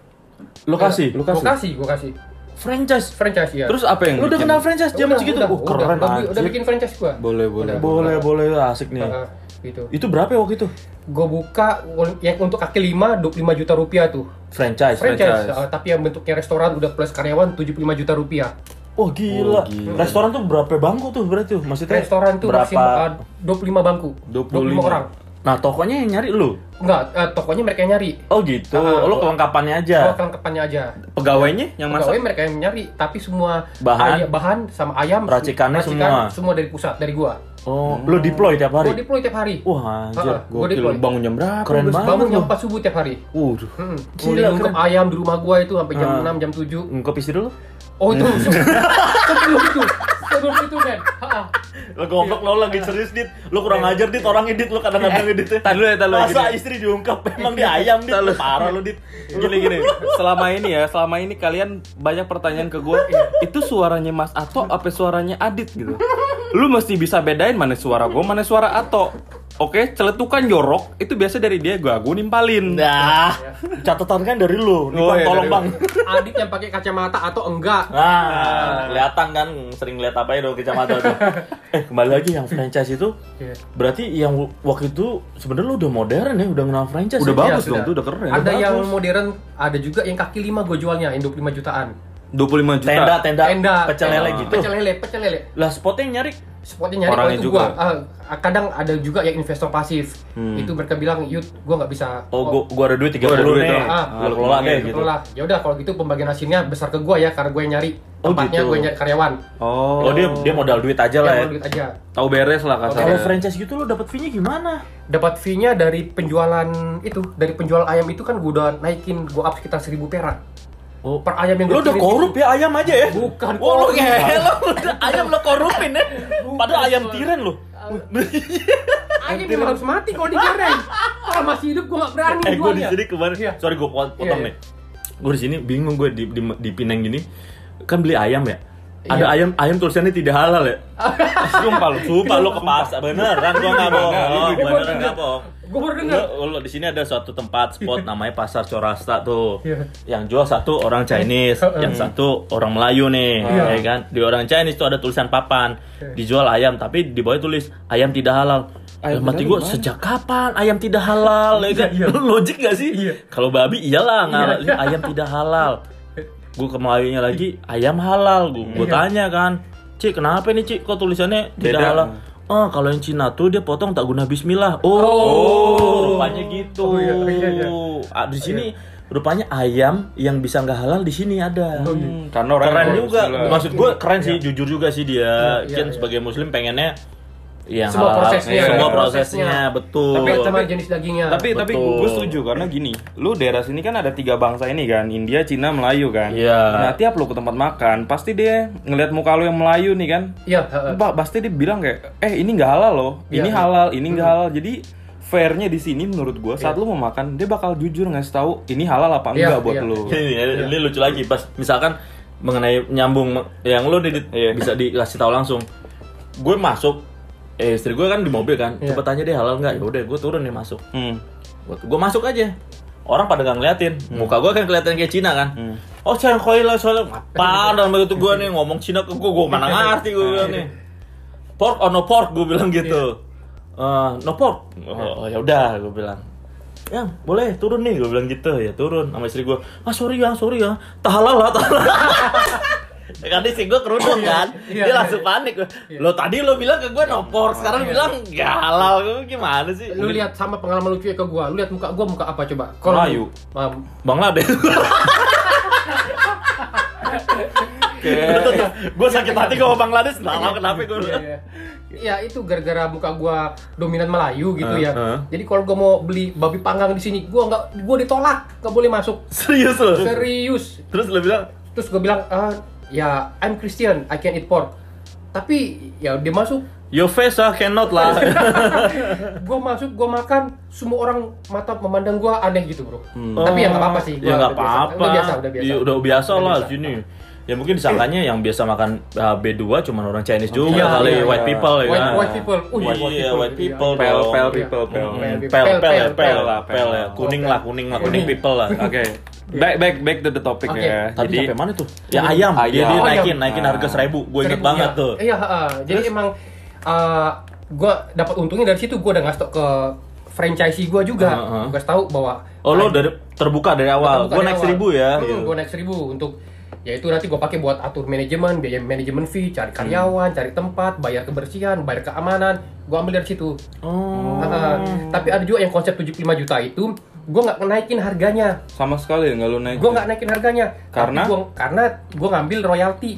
Lokasi.
Lu kasih?
Gua kasih, gua kasih.
Franchise.
Franchise ya.
Terus apa yang
Lu udah
bikin?
kenal franchise zaman
Udah,
segitu?
udah,
Uh, keren
udah,
anjir.
udah bikin franchise gua.
Boleh, boleh.
Udah.
Boleh, boleh asik nih.
Heeh, gitu.
Itu berapa ya waktu itu?
Gua buka un- yang untuk kaki lima 25 juta rupiah tuh.
Franchise.
Franchise, eh, tapi yang bentuknya restoran udah plus karyawan 75 juta rupiah.
Wah gila.
Oh, gila.
Restoran tuh berapa bangku tuh berarti tuh? Maksudnya
Restoran tuh
berapa?
maksimal eh, 25 bangku. 25 orang.
Nah, tokonya yang nyari lu.
Enggak, eh, tokonya mereka yang nyari.
Oh gitu.
Ah,
lu kelengkapannya aja.
Kalau kelengkapannya aja.
Pegawainya yang
Pegawai
masak?
mereka yang nyari, tapi semua
Bahan?
ayam- bahan sama ayam,
Racikannya semua.
dari pusat, dari gua.
Oh, lu deploy tiap
Gua
hari.
deploy tiap hari.
Wah, anjir.
Ah, ah. Gua
Hmm. Gokil,
deploy.
bangun jam berapa?
Keren
Bos?
banget.
Bangun jam
lu.
4 subuh tiap hari.
Waduh.
Hmm.
Gila,
ngungkep ayam di rumah gua itu sampai jam
Ah.
6, jam 7.
Ngkopi sih dulu.
Oh itu sebelum itu, sebelum itu men. Ha, ha.
Lo goblok
Iya.
lo lagi serius dit, lo kurang ajar dit orang edit lo kadang-kadang edit.
Tahan dulu ya, tahan dulu ya,
Masa
gini.
istri diungkap
Iya.
emang dia ayam dit, Lo parah lo dit.
Iya.
Gini gini, selama ini ya, selama ini kalian banyak pertanyaan ke gue, itu suaranya Mas Ato apa suaranya Adit gitu. Lu mesti bisa bedain mana suara gue, mana suara Ato. Oke, celetukan jorok itu biasa dari dia, gue gue nimpalin.
Nah,
Iya.
catatan kan dari lu, nih
Oh,
Bang,
iya,
tolong
dari
bang.
Adit yang pakai kacamata atau enggak?
Nah, kelihatan kan sering lihat apa ya dong kacamata tuh. Eh, kembali lagi yang franchise itu
Iya.
berarti yang w- waktu itu sebenarnya lu udah modern ya, udah kenal franchise.
Udah
ya?
bagus
Iya,
dong,
sudah.
tuh udah keren.
Ada
Udah
yang
bagus.
modern, ada juga yang kaki lima gue jualnya, yang 25 jutaan.
25 juta.
tenda, tenda,
Tenda,
pecel
tenda.
lele gitu.
Pecel lele, pecel lele.
Lah spotnya yang nyari.
Spotnya nyari
Orangnya
kalau itu
juga.
gua. Ah, kadang ada juga yang investor pasif. Itu mereka bilang, "Yud, gua nggak bisa."
Hmm. Oh, gua, gua ada duit 30
Gua ada duit,
nih.
dong.
Ah,
Gua kelola deh
gitu
gitu.
lah. Ya udah kalau gitu pembagian hasilnya besar ke gua ya karena gue yang nyari
Oh,
tempatnya,
gitu.
gue nyari karyawan.
Oh,
Oh, dia dia modal duit aja lah
Yang
ya.
mau duit aja.
tahu beres lah
Kalau
kasarnya.
franchise gitu lo dapat fee-nya gimana?
Dapat fee-nya dari penjualan itu, dari penjual ayam itu kan gua udah naikin, gua up sekitar 1000 perak.
Oh,
Per ayam yang
lo
gua
udah
kirim
korup
itu.
ya ayam aja ya?
Bukan
Wah, lo
korup.
ngehe, lo udah ayam lo korupin ya? Padahal ayam
Bukan.
tiren lo.
Ayam memang harus mati kalau digoreng. Kalau masih hidup gua nggak
eh,
berani
gue di
jualnya.
sini kemarin,
Iya.
sorry gue potong
Iya, iya.
nih. Gue di sini bingung gue di, di, di Pinang gini, kan beli ayam ya. Ada
Iya.
ayam ayam tulisannya tidak halal ya. Sumpah lo, sumpah lo ke pasar beneran gue nggak bohong, beneran nggak bohong.
Gua baru dengar.
Lo, lo di sini ada suatu tempat spot namanya Pasar Corasta tuh.
Iya.
Yang jual satu orang Chinese,
Heeh.
yang satu orang Melayu nih,
Iya.
ya kan? Di orang Chinese tuh ada tulisan papan, dijual ayam tapi di bawah tulis ayam tidak halal.
Ayam tidak
Ayam mati
halal
gue
gimana?
sejak kapan ayam tidak halal ya kan?
Iya, iya.
Logik gak sih?
Iya.
Kalau babi iyalah ngalah
Iya.
ayam tidak halal. Gue ke Melayunya lagi ayam halal gue. Gue
Iya.
tanya kan, Cik kenapa nih Cik kok tulisannya tidak
Beda.
halal? Oh, kalau yang Cina tuh dia potong tak guna bismillah. Oh,
Oh.
rupanya gitu.
Oh, iya, iya, iya.
Ah, di sini rupanya ayam yang bisa nggak halal di sini ada.
Oh, iya.
Hmm, karena orang
Keren
yang
juga.
Bismillah.
Maksud gue keren sih, jujur juga sih dia.
Iya, iya,
Kan
iya.
sebagai muslim pengennya yang
Semua
halal. semua
prosesnya.
Iya.
prosesnya,
Prosesnya.
betul.
Tapi sama jenis dagingnya.
Tapi tapi
Betul.
gue setuju karena gini, lu daerah sini kan ada tiga bangsa ini kan, India, Cina, Melayu kan.
Iya.
Nah tiap lu ke tempat makan, pasti dia ngelihat muka lu yang Melayu nih kan.
Iya, heeh.
Ba- pasti dia bilang kayak, eh ini nggak halal loh, ini
Iya.
halal, ini nggak halal. Jadi fairnya di sini menurut gue saat lu mau makan dia bakal jujur ngasih tahu ini halal apa
Iya,
enggak buat
iya,
lu.
ini, ini lucu lagi pas misalkan mengenai nyambung me- yang lu Didit,
Iya.
bisa dikasih tahu langsung gue masuk eh, istri gue kan di mobil kan
Iya.
coba tanya deh halal nggak ya udah gue turun nih masuk
Hmm.
gue, gue masuk aja orang pada nggak ngeliatin muka gue kan kelihatan kayak Cina kan oh sayang koi lah soalnya apa dan begitu gue nih ngomong Cina ke gue gue mana ngerti gue bilang nih pork or no pork gue bilang gitu Eh, no pork oh, ya udah gue bilang yang boleh turun nih gue bilang gitu ya turun sama istri gue ah sorry ya sorry ya tahalal lah tahalal kan istri gue kerudung kan
Iya.
dia langsung panik lo tadi lo bilang ke gue no pork sekarang bilang galau gue gimana sih
lu lihat sama pengalaman lucu ya ke gua lu lihat muka gua muka apa coba kalau
Melayu.
Mam,
Bangladesh. gue sakit hati gue sama Bangladesh, nggak tahu kenapa gue.
iya, iya. ya itu gara-gara muka gua dominan Melayu gitu ya
Heeh.
jadi kalau gua mau beli babi panggang di sini gua nggak gua ditolak nggak boleh masuk
Serius lo?
serius
Terus lo bilang,
terus gua bilang "Ah, ya I'm Christian I can eat pork tapi ya dia masuk
your face ah cannot lah.
ya, gua masuk gua makan semua orang mata memandang gua aneh gitu bro tapi ya nggak apa-apa sih
Ya nggak
gua udah biasa.
apa-apa. Iya,
udah biasa udah biasa
Ya, udah biasa lah sini. Ya mungkin disangkanya yang biasa makan uh, B2 cuman orang Chinese juga
Iya,
kali
iya,
white
iya.
people ya.
White,
kan?
white people. Oh,
Iya, white people.
Pel,
dong.
pel, people, pel.
Hmm.
pel,
Pel,
pel,
pel,
pel,
pel
lah,
lah,
pel
pel.
ya. Kuning lah, kuning lah, kuning
Kuning.
people lah.
Oke. Back back back to the topic
Oke.
ya.
Tadi
Jadi
sampai mana tuh? Eh, Ya ayam.
Ayam.
Dia, dia
Oh,
naikin,
ayam.
naikin harga
Ah.
seribu. Gue inget
Seribu,
banget
iya.
tuh.
Iya, heeh. jadi emang eh, gua dapat untungnya dari situ gua udah ngasih tau ke franchisee gua juga.
Heeh, heeh.
Gua kasih tahu bahwa
Oh lo dari terbuka dari awal. Gue naik seribu ya. gitu.
gue naik seribu untuk ya itu nanti gue pakai buat atur manajemen biaya manajemen fee cari karyawan
Hmm.
cari tempat bayar kebersihan bayar keamanan gue ambil dari situ
Oh.
Ah, tapi ada juga yang konsep 75 juta itu gue nggak naikin harganya
sama sekali nggak lu naik.
gue nggak naikin harganya
Karena?
Tapi gua- karena gue ngambil royalti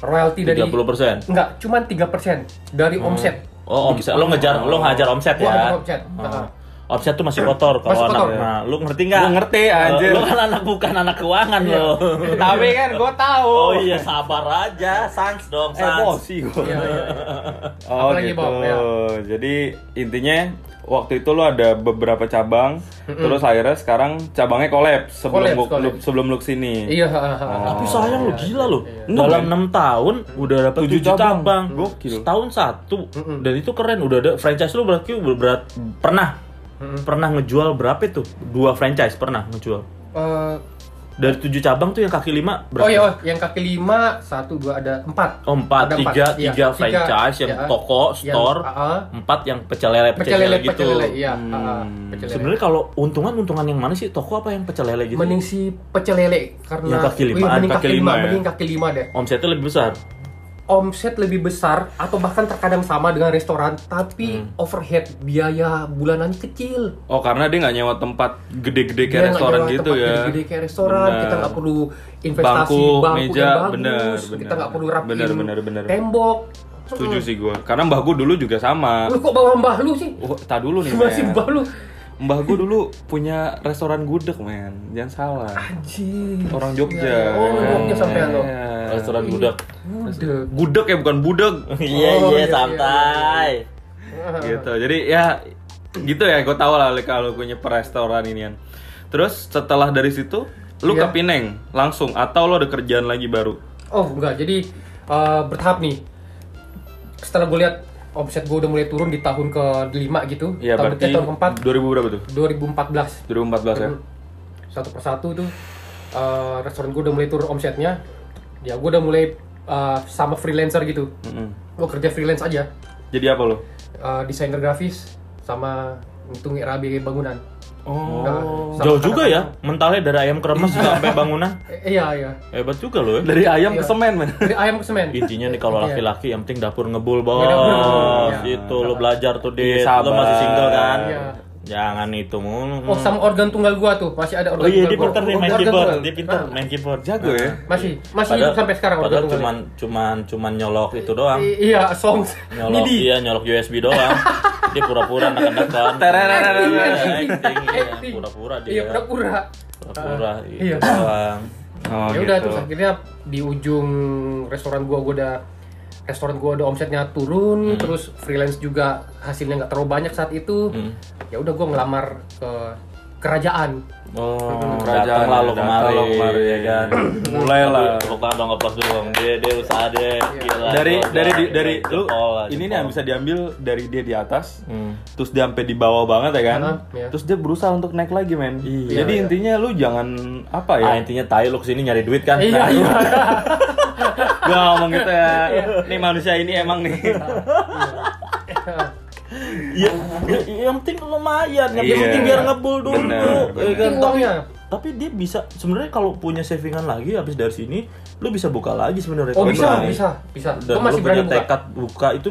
royalti dari
30 persen.
nggak cuman 3% dari omset
Oh omset, lo ngejar, lo ngajar omset
Gua ngajar
ya?
omset.
Oh. Omset tuh masih kotor
Masih
kalau anak.
kotor.
Nah, lo ngerti nggak?
Gua ngerti anjir.
Lo kan anak bukan anak keuangan lo.
Tapi kan gua tahu. Eh,
Oh iya sabar aja, sans dong, sans.
Emosi gua.
Iya, iya,
Oh
Apalagi,
gitu.
Bob, ya.
Jadi intinya waktu itu lo ada beberapa cabang, terus akhirnya sekarang cabangnya collab sebelum
Collab,
gua-
collab.
lu- sebelum lu kesini.
iya heeh, heeh.
Tapi sayang lo gila lo.
Iya.
Dalam 6 tahun udah dapat
Tujuh
7
cabang.
cabang.
Gokil.
Setahun satu. Dan itu keren udah ada franchise lo berarti ber- berat pernah pernah ngejual berapa itu? Dua franchise pernah ngejual.
Eh,
Dari 7 cabang tuh yang kaki 5 berapa?
oh iya oh, yang kaki lima satu dua ada empat
Oh, empat,
Ada empat,
tiga,
iya.
tiga
Tiga,
franchise yang
iya.
toko,
Yang,
store,
ah, ah.
empat yang pecel lele, pecel,
pecel lele
lele gitu. Hmm.
pecel lele iya ah, ah, pecel lele.
Sebenarnya kalau untungan untungan yang mana sih toko apa yang pecel lele gitu?
mending si pecel lele karena
Yang kaki limaan,
Wih, mending
kaki
kaki,
lima
lima,
ya.
mending kaki lima deh
Omsetnya lebih besar.
omset lebih besar atau bahkan terkadang sama dengan restoran tapi
Hmm.
overhead biaya bulanan kecil
Oh karena dia nggak nyewa tempat gede-gede
Dia nggak
kayak restoran
nyewa
gitu
tempat
ya.
gede-gede kayak restoran kita nggak perlu investasi
Bangku,
bangku,
meja,
yang bagus
bener,
kita
bener.
nggak perlu rapin
Bener, bener, bener.
tembok
Setuju sih gua. Karena mbah gua dulu juga sama.
lu kok bawa mbah lu sih
Oh, tak dulu nih.
masih
men.
mbah lu
Mbah gua dulu punya restoran gudeg, men. Jangan salah.
anjir
Orang Jogja.
oh lu
men.
Jogja sampean lo
Iya.
Restoran budak.
udah
Gudeg ya bukan budeg.
Iya
Oh,
iya
iya,
santai.
Ah.
gitu. Jadi ya gitu ya gua tahu lah kalau punya restoran inian. Terus setelah dari situ lu
Iya.
ke Pineng langsung atau lu ada kerjaan lagi baru?
Oh enggak, jadi eh, bertahap nih. Setelah gue lihat omset gue udah mulai turun di tahun ke-5 gitu,
Iya,
tahun,
berarti
eh, tahun keempat
2000 berapa tuh?
2014.
2014 ya.
Satu persatu tuh eh, restoran gue udah mulai turun omsetnya. Ya gue udah mulai eh, sama freelancer gitu.
Mm-mm.
Gue kerja freelance aja,
Jadi apa lu?
Eh, desainer grafis sama untung RAB bangunan.
Oh.
Nah, sama
Jauh juga
kadang-
ya mentalnya dari ayam kremes sampai bangunan.
Eh, iya iya.
Hebat juga lo ya.
Dari ayam ke
Iya.
semen, men.
Dari ayam ke semen.
Intinya nih kalau
Iya.
laki-laki yang penting dapur ngebul
Iya, dapur
bos.
ngebul, iya.
Itu lo belajar tuh
Iya,
deh. Lo
sabar.
masih single kan?
Iya.
Jangan itu mulu.
Oh sama organ tunggal gua tuh masih ada
Oh
organ
iya
tunggal
dia
gua.
pintar nih main
Organ
keyboard,
tunggal.
dia pintar
Nah.
main keyboard.
Jago ya?
masih masih hidup sampai sekarang waktu
Iya. Padahal
itu.
cuman cuman cuman nyolok itu doang.
I- iya song
Nyolok
Nidi.
iya nyolok USB doang. dia pura-pura nekan-nekan.
Tererererere.
Iya, acting, iya.
Acting.
Pura-pura
iya
dia.
pura-pura
Pura-pura itu
Iya.
doang.
Oh,
ya udah
gitu.
terus akhirnya di ujung restoran gua gua udah restoran gua udah omsetnya turun
Hmm.
terus freelance juga hasilnya nggak terlalu banyak saat itu
Hmm.
ya udah gua ngelamar ke kerajaan
Oh,
kerajaan, ya,
kerajaan lalu
datang
kemarin,
lo kemari.
ya kan.
Mulailah.
Tepuk tangan dong, applause dulu. Dia dia usaha deh.
Iya.
Gila.
dari
gila,
dari
gila.
dari lu
Jempol lah,
ini
jempol.
nih yang bisa diambil dari dia di atas
Hmm.
terus dia sampai di bawah banget ya kan
Heeh, iya.
terus dia berusaha untuk naik lagi men
Iya,
jadi
iya.
intinya lu jangan apa ya
Ah, intinya tai lu kesini nyari duit kan? Nah,
iya iya
gua ngomong gitu ya nih manusia ini emang nih
Iya, ya- yang penting lumayan, yang
Iya.
penting biar ngebul dulu.
Bener, bener.
ya kan?
Penting uangnya.
Tapi, tapi dia bisa sebenarnya kalau punya savingan lagi habis dari sini, lu bisa buka lagi sebenarnya.
oh
Kalau
bisa
berani.
bisa bisa
Dan
gua masih
lu
berani
punya
buka
tekad buka itu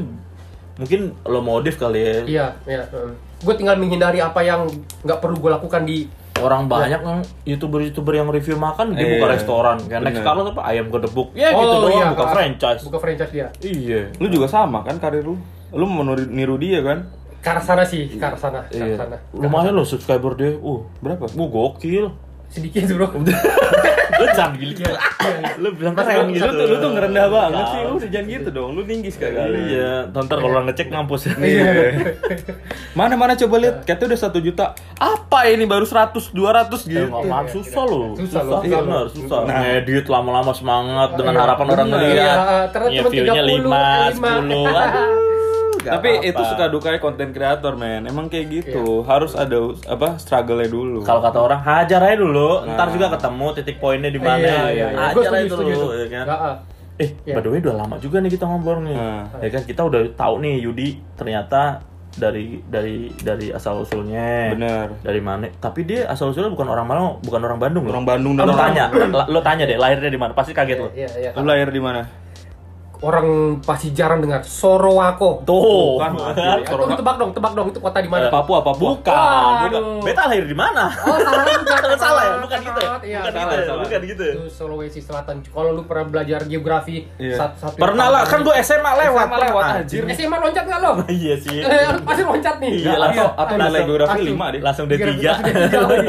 mungkin lo modif kali ya.
iya iya gue tinggal menghindari apa yang nggak perlu gue lakukan di
Orang banyak yang youtuber-youtuber yang review makan
Ya.
dia
Iya.
buka restoran. Kayak Next
Bener.
Carlo apa ayam gedebuk. Ya gitu doang
iya,
buka
ah,
franchise.
buka franchise dia
Iya.
lu juga sama kan karir lu lu mau niru, niru dia kan
ke arah sana sih ke arah sana ke
Iya.
arah sana
Lumayan loh subscriber dia. Uh,
berapa
gua gokil.
sedikit bro
Lu jangan gila gitu. Lu bilang
Lu
keren gitu.
tuh, lu tuh ngerendah banget sih,
Tahu.
lu jangan gitu dong, lu tinggi sekali.
Iya, ntar kalau orang ngecek ngampus. ya.
Iya. Mana mana coba lihat,
Iya.
katanya udah satu juta. Apa ini baru 100 200
Ya,
gitu.
nggak maaf, susah loh.
Susah loh, susah
bener,
loh.
susah.
Nah.
Ngedit lama-lama semangat dengan harapan orang
bener.
ngeliat.
Iya, ternyata
Iya,
cuma
view-nya kan? 5,
30, eh, 5.
10. Aduh, nggak
Tapi
apa-apa.
itu suka dukanya konten kreator, men. Emang kayak gitu. Harus ada us- apa struggle-nya dulu.
Iya. kalau kata orang hajar aja dulu, ntar juga ketemu titik poinnya di mana. ya?
Iya, Nah, Gua
Hajar aja
setuju, setuju
dulu,
tuh.
iya. ya kan.
Nggak, ah.
Eh, by the way udah lama juga nih kita ngobrol nih.
Nah.
Ya kan kita udah tahu nih Yudi ternyata dari dari dari asal usulnya.
Bener.
Dari mana? Tapi dia asal usulnya bukan orang Malang, bukan orang Bandung loh.
Orang Bandung dan
Lo
orang-
tanya, lo tanya deh lahirnya di mana? Pasti kaget lo.
Iya, iya.
Lu lahir di mana?
Orang pasti jarang dengar Sorowako.
Tuh.
Bukan,
Eh, Tolong tebak dong, tebak dong itu kota di
Iya.
mana?
Papua, Papua.
Bukan, bukan.
Aduh.
Beta lahir di mana?
Oh, salah juga.
Salah, salah ya? Bukan gitu ya?
Salah, iya,
bukan
salah,
gitu ya?
salah.
Bukan gitu ya?
Itu Sulawesi Selatan. Kalau lu pernah belajar geografi
Iya.
satu-satu.
Pernah lah, kan gue SMA lewat.
SMA lewat, anjir.
SMA loncat nggak lo?
Iya sih.
Eh, lu pasti loncat nih.
Iya,
Atau
langsung-
atau nilai
langsung-
geografi
langsung.
5 deh.
Langsung D3.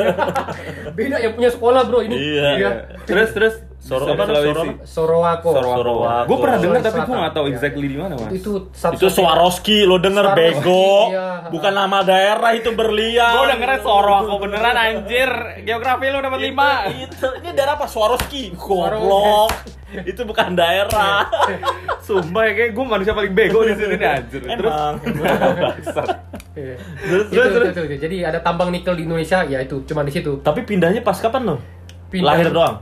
Beda yang punya sekolah, Bro, ini.
Iya.
Terus terus
Soro-
Sor-
apa namanya?
Sulawesi.
Soro-
Sorowako.
Sorowako.
Gue pernah dengar tapi gue nggak
Sulawesi
tahu
Selatan. Iya.
exactly di mana mas.
Itu satu
Itu Swarovski, lo denger
Swarovski,
bego.
iya.
Bukan nama daerah itu berlian.
Gue udah ngeres soro aku beneran anjir. Geografi lu dapat 5.
Itu, ini daerah apa? Swarovski. Goblok. itu bukan daerah.
Sumpah ya kayak gue manusia paling bego di sini nih anjir. Terus
Emang.
Iya.
Terus,
Itu,
terus,
itu, itu, itu. Jadi ada tambang nikel di Indonesia, ya itu cuma di situ.
Tapi pindahnya pas kapan lo?
Pindah.
Lahir doang.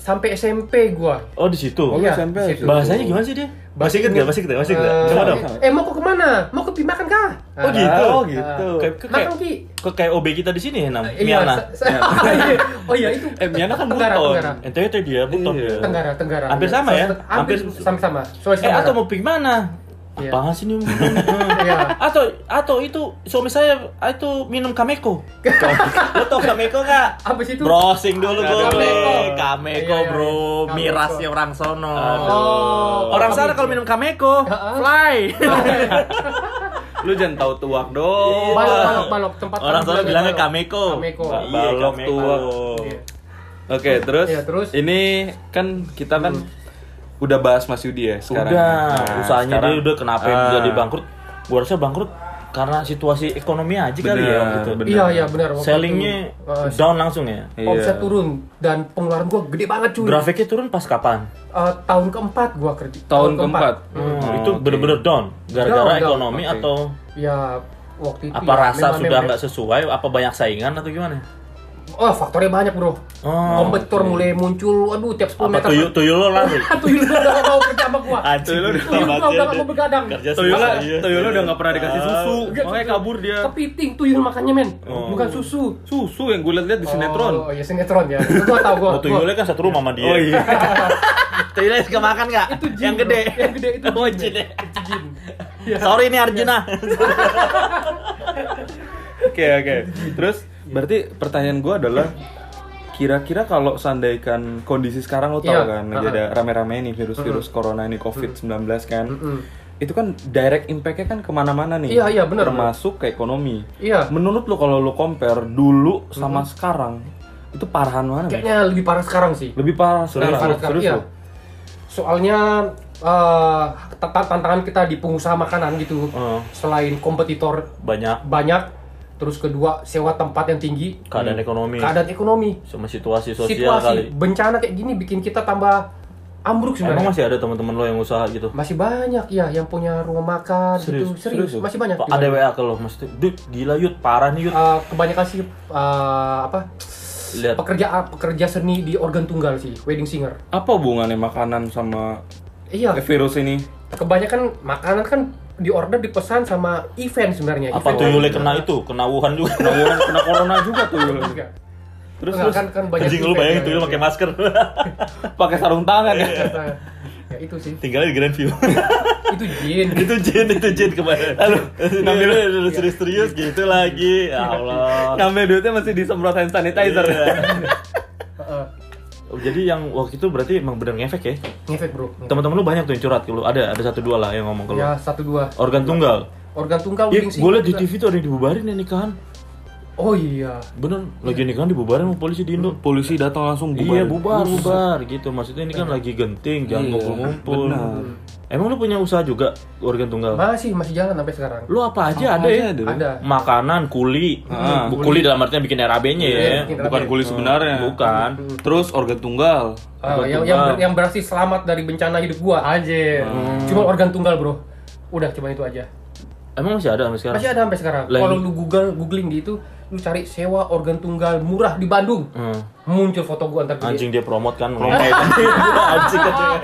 Sampai SMP gua.
Oh di situ.
Iya,
SMP
di
aja.
situ.
Bahasanya gimana sih dia? Masih inget gak? Masih inget gak? Masih inget
Eh,
Coba dong.
Eh mau ke kemana? Mau ke Pi makan kah? Ah.
Oh gitu.
Oh, gitu.
Kayak kayak-
Makan Ki.
Kok kayak OB kita di sini ya Nam?
Eh, iya,
Miana.
sa- sa- iya. oh iya itu.
Eh Miana kan
Tenggara,
Buton.
Tenggara.
Ente itu dia Buton.
Iya.
Tenggara, Tenggara.
Hampir sama ya?
Hampir
Hampir-
sama-sama. Sulawesi
Eh atau
Tenggara.
mau pergi mana?
Iya.
Apaan sih ini?
Iya.
atau atau itu suami saya ah, itu minum kameko. Lo tau kameko gak?
Abis itu
Browsing dulu
Ada
gue.
Kameko.
Kameko
Iya, iya.
bro,
Kameko.
mirasnya orang sono.
Oh,
Orang sana kalau minum kameko, fly.
lu jangan tahu tuak dong.
balok, balok, balok tempat
Orang sana
bilangnya
bilangnya
balok.
kameko.
Kameko.
Ba-
Iya,
Balok
kameko.
tua.
Iya.
Oke terus.
Iya, terus. Hmm.
Ini kan kita kan udah bahas Mas Yudi ya sekarang.
Udah,
Nah,
usahanya dia
sekarang-
udah kenapa
Ah,
jadi bangkrut? Gua rasa bangkrut karena situasi ekonomi aja kali ya
Bener,
gitu.
bener.
Iya, iya benar. Waktu
Sellingnya
itu, eh,
down langsung ya.
Omset
Iya.
turun dan pengeluaran gua gede banget cuy.
Grafiknya turun pas kapan?
Eh, tahun keempat gua kerja.
Tahun keempat.
Hmm,
Oh,
itu
oke.
bener-bener down
Down,
gara-gara
down.
ekonomi
Oke.
atau
Ya waktu itu
apa
ya,
rasa
memang-
sudah
memang-
nggak sesuai apa banyak saingan atau gimana?
Oh, faktornya banyak, Bro.
Oh,
Kompetitor mulai muncul. Aduh, tiap 10
Apa
meter.
tuyul tuyul lo lari?
tuyul udah gak mau kerja sama gua.
Anjing,
Tuyul
Tuyul udah
mati,
gak
dia.
mau begadang.
Kerja
Toyola,
susah, iya.
Toyola udah nggak pernah dikasih susu,
Nggak,
makanya
susu.
kabur dia.
Kepiting tuyul makannya, men. Bukan susu.
Susu yang gue liat-liat di sinetron.
Oh, iya sinetron ya. Itu gua tahu gua.
Oh, tuyulnya kan satu rumah sama dia.
Oh iya.
tuyulnya suka makan nggak?
Itu jin,
Yang gede.
bro. Iya. Yang gede itu
Oh,
jin,
jin ya.
Itu jin.
Sorry nih Arjuna.
Oke oke. Terus
Iya.
berarti pertanyaan gue adalah kira-kira kalau seandaikan kondisi sekarang lo tau
Iya,
kan lagi
uh-uh.
ada rame-rame ini virus-virus corona ini covid-19 kan
Mm-mm.
itu kan direct impact-nya kan kemana-mana nih
Iya, iya, bener.
termasuk ke ekonomi
Iya.
menurut lo kalau lo compare dulu sama sekarang itu parahan mana Bang?
Kayaknya lebih parah sekarang sih.
lebih parah
Lebih
sekarang
parah sekarang.
serius
Iya.
lo?
Soalnya eh, tentang tantangan kita di pengusaha makanan gitu.
Oh.
Selain kompetitor
Banyak
banyak, terus kedua sewa tempat yang tinggi,
keadaan ekonomi
Hmm. keadaan ekonomi,
sama situasi sosial kali.
situasi bencana kayak gini bikin kita tambah ambruk
Emang
sebenarnya.
masih ada teman-teman lo yang usaha gitu?
Iya. Masih banyak ya yang punya rumah makan
Serius?
gitu, serius,
Serius?
masih banyak.
Pak, ada WA ke lo, mesti, Dut, gila Yud, parah nih Yud.
Eh, kebanyakan sih eh, apa
Lihat
pekerja pekerja seni di organ tunggal sih, wedding singer.
apa hubungannya makanan sama eh,
Iya,
virus ini
kebanyakan makanan kan diorder dipesan sama event sebenarnya.
apa
Event
tuyulnya kena itu, kena Wuhan juga.
kena corona- kena corona juga tuh
juga.
terus
Enggak,
terus
kan kan banyak.
Anjing lu
event
bayangin
ya,
tuyul
ya.
pakai masker.
pakai sarung tangan ya
Ya itu sih.
Tinggalnya di Grand View.
Itu jin.
itu jin, itu jin kemarin. Lalu ngambil serius-serius gitu lagi. Ya Allah.
ngambil duitnya masih disemprot hand sanitizer
Heeh.
Oh, Jadi yang waktu itu berarti emang bener ngefek ya.
Ngefek, Bro.
Teman-teman lu banyak tuh yang curhat ke lu. Ada ada satu dua lah yang ngomong ke lu.
Ya satu dua.
Organ tunggal.
Organ tunggal
Ya,
wedding
gue liat di
juga.
TV tuh ada yang dibubarin ya nikahan.
Oh iya.
Bener, lagi nikahan dibubarin sama polisi di Indo.
Polisi datang langsung
Iya
Hmm. bubar.
bubar, bubar gitu. Maksudnya ini kan lagi genting, jangan
Iya,
ngumpul-ngumpul.
benar.
Emang lu punya usaha juga organ tunggal?
Masih masih jalan sampai sekarang.
Lu apa aja
Apa
ada
aja
ya?
ada.
Ada.
Makanan, kuli. Hmm,
Ah,
Bu- kuli dalam artinya bikin RAB-nya ya.
Iya, bikin
Bukan
RAB.
kuli sebenarnya.
Bukan.
Terus organ tunggal.
Ah,
Organ
yang
tunggal.
yang ber- yang berarti selamat dari bencana hidup gua aja.
Hmm.
Cuma organ tunggal, Bro. Udah cuma itu aja.
Emang masih ada sampai sekarang?
Masih ada sampai sekarang.
Lah,
Kalau
ini-
lu Google googling di itu, lu cari sewa organ tunggal murah di Bandung.
Hmm.
Muncul foto gua antar
Anjing dia promot kan. anjing aja.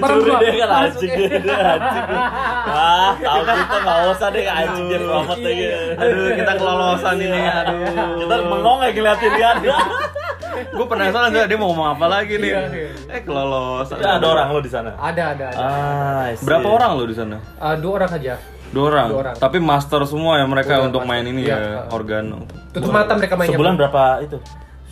Dia
bareng
curi
gua.
dia kan
Masuk,
anjing
ya.
dia, dia anjing dia. Ah, tahu kita nggak usah deh anjing dia promot
Iya,
lagi. Iya.
Aduh, kita kelolosan ini. Aduh.
Kita bengong ya ngeliatin dia.
Gue Eh, penasaran nggak dia mau ngomong apa lagi nih.
Iya, iya.
Eh kelolosan.
Ada ada orang lo di sana.
Ada, ada, ada.
Ah, I see.
Berapa orang lo di sana?
Ah, dua orang aja.
Dua orang.
Dua orang.
Tapi master semua ya mereka
Udah,
untuk
master.
main ini
Iya,
ya,
heeh.
organ.
Tutup mata mereka mainnya.
Sebulan berapa itu?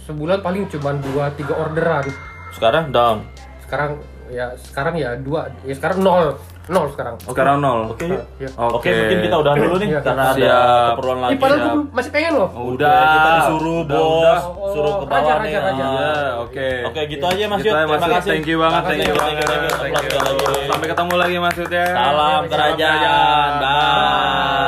Sebulan paling cuma dua tiga orderan.
Sekarang down.
Sekarang ya sekarang ya dua ya sekarang nol nol sekarang.
Sekarang nol.
Oke. yuk.
Ya.
Oke, mungkin kita udah dulu nih
Iya.
karena ada
Siap.
keperluan
Ih,
lagi. ya.
padahal gua masih pengen loh.
Udah,
kita disuruh
udah,
bos,
udah.
suruh ke
Oh,
bawah
raja,
nih.
raja, raja.
Ah.
Iya, oke.
Oke, gitu aja Mas
Gitu
Yud.
aja,
Terima
Yud.
kasih.
Thank you banget,
Makasih,
thank you
thank you, thank you.
banget.
Thank you.
Iya,
Sampai ketemu lagi Mas Yud ya.
Salam kerajaan. Bye.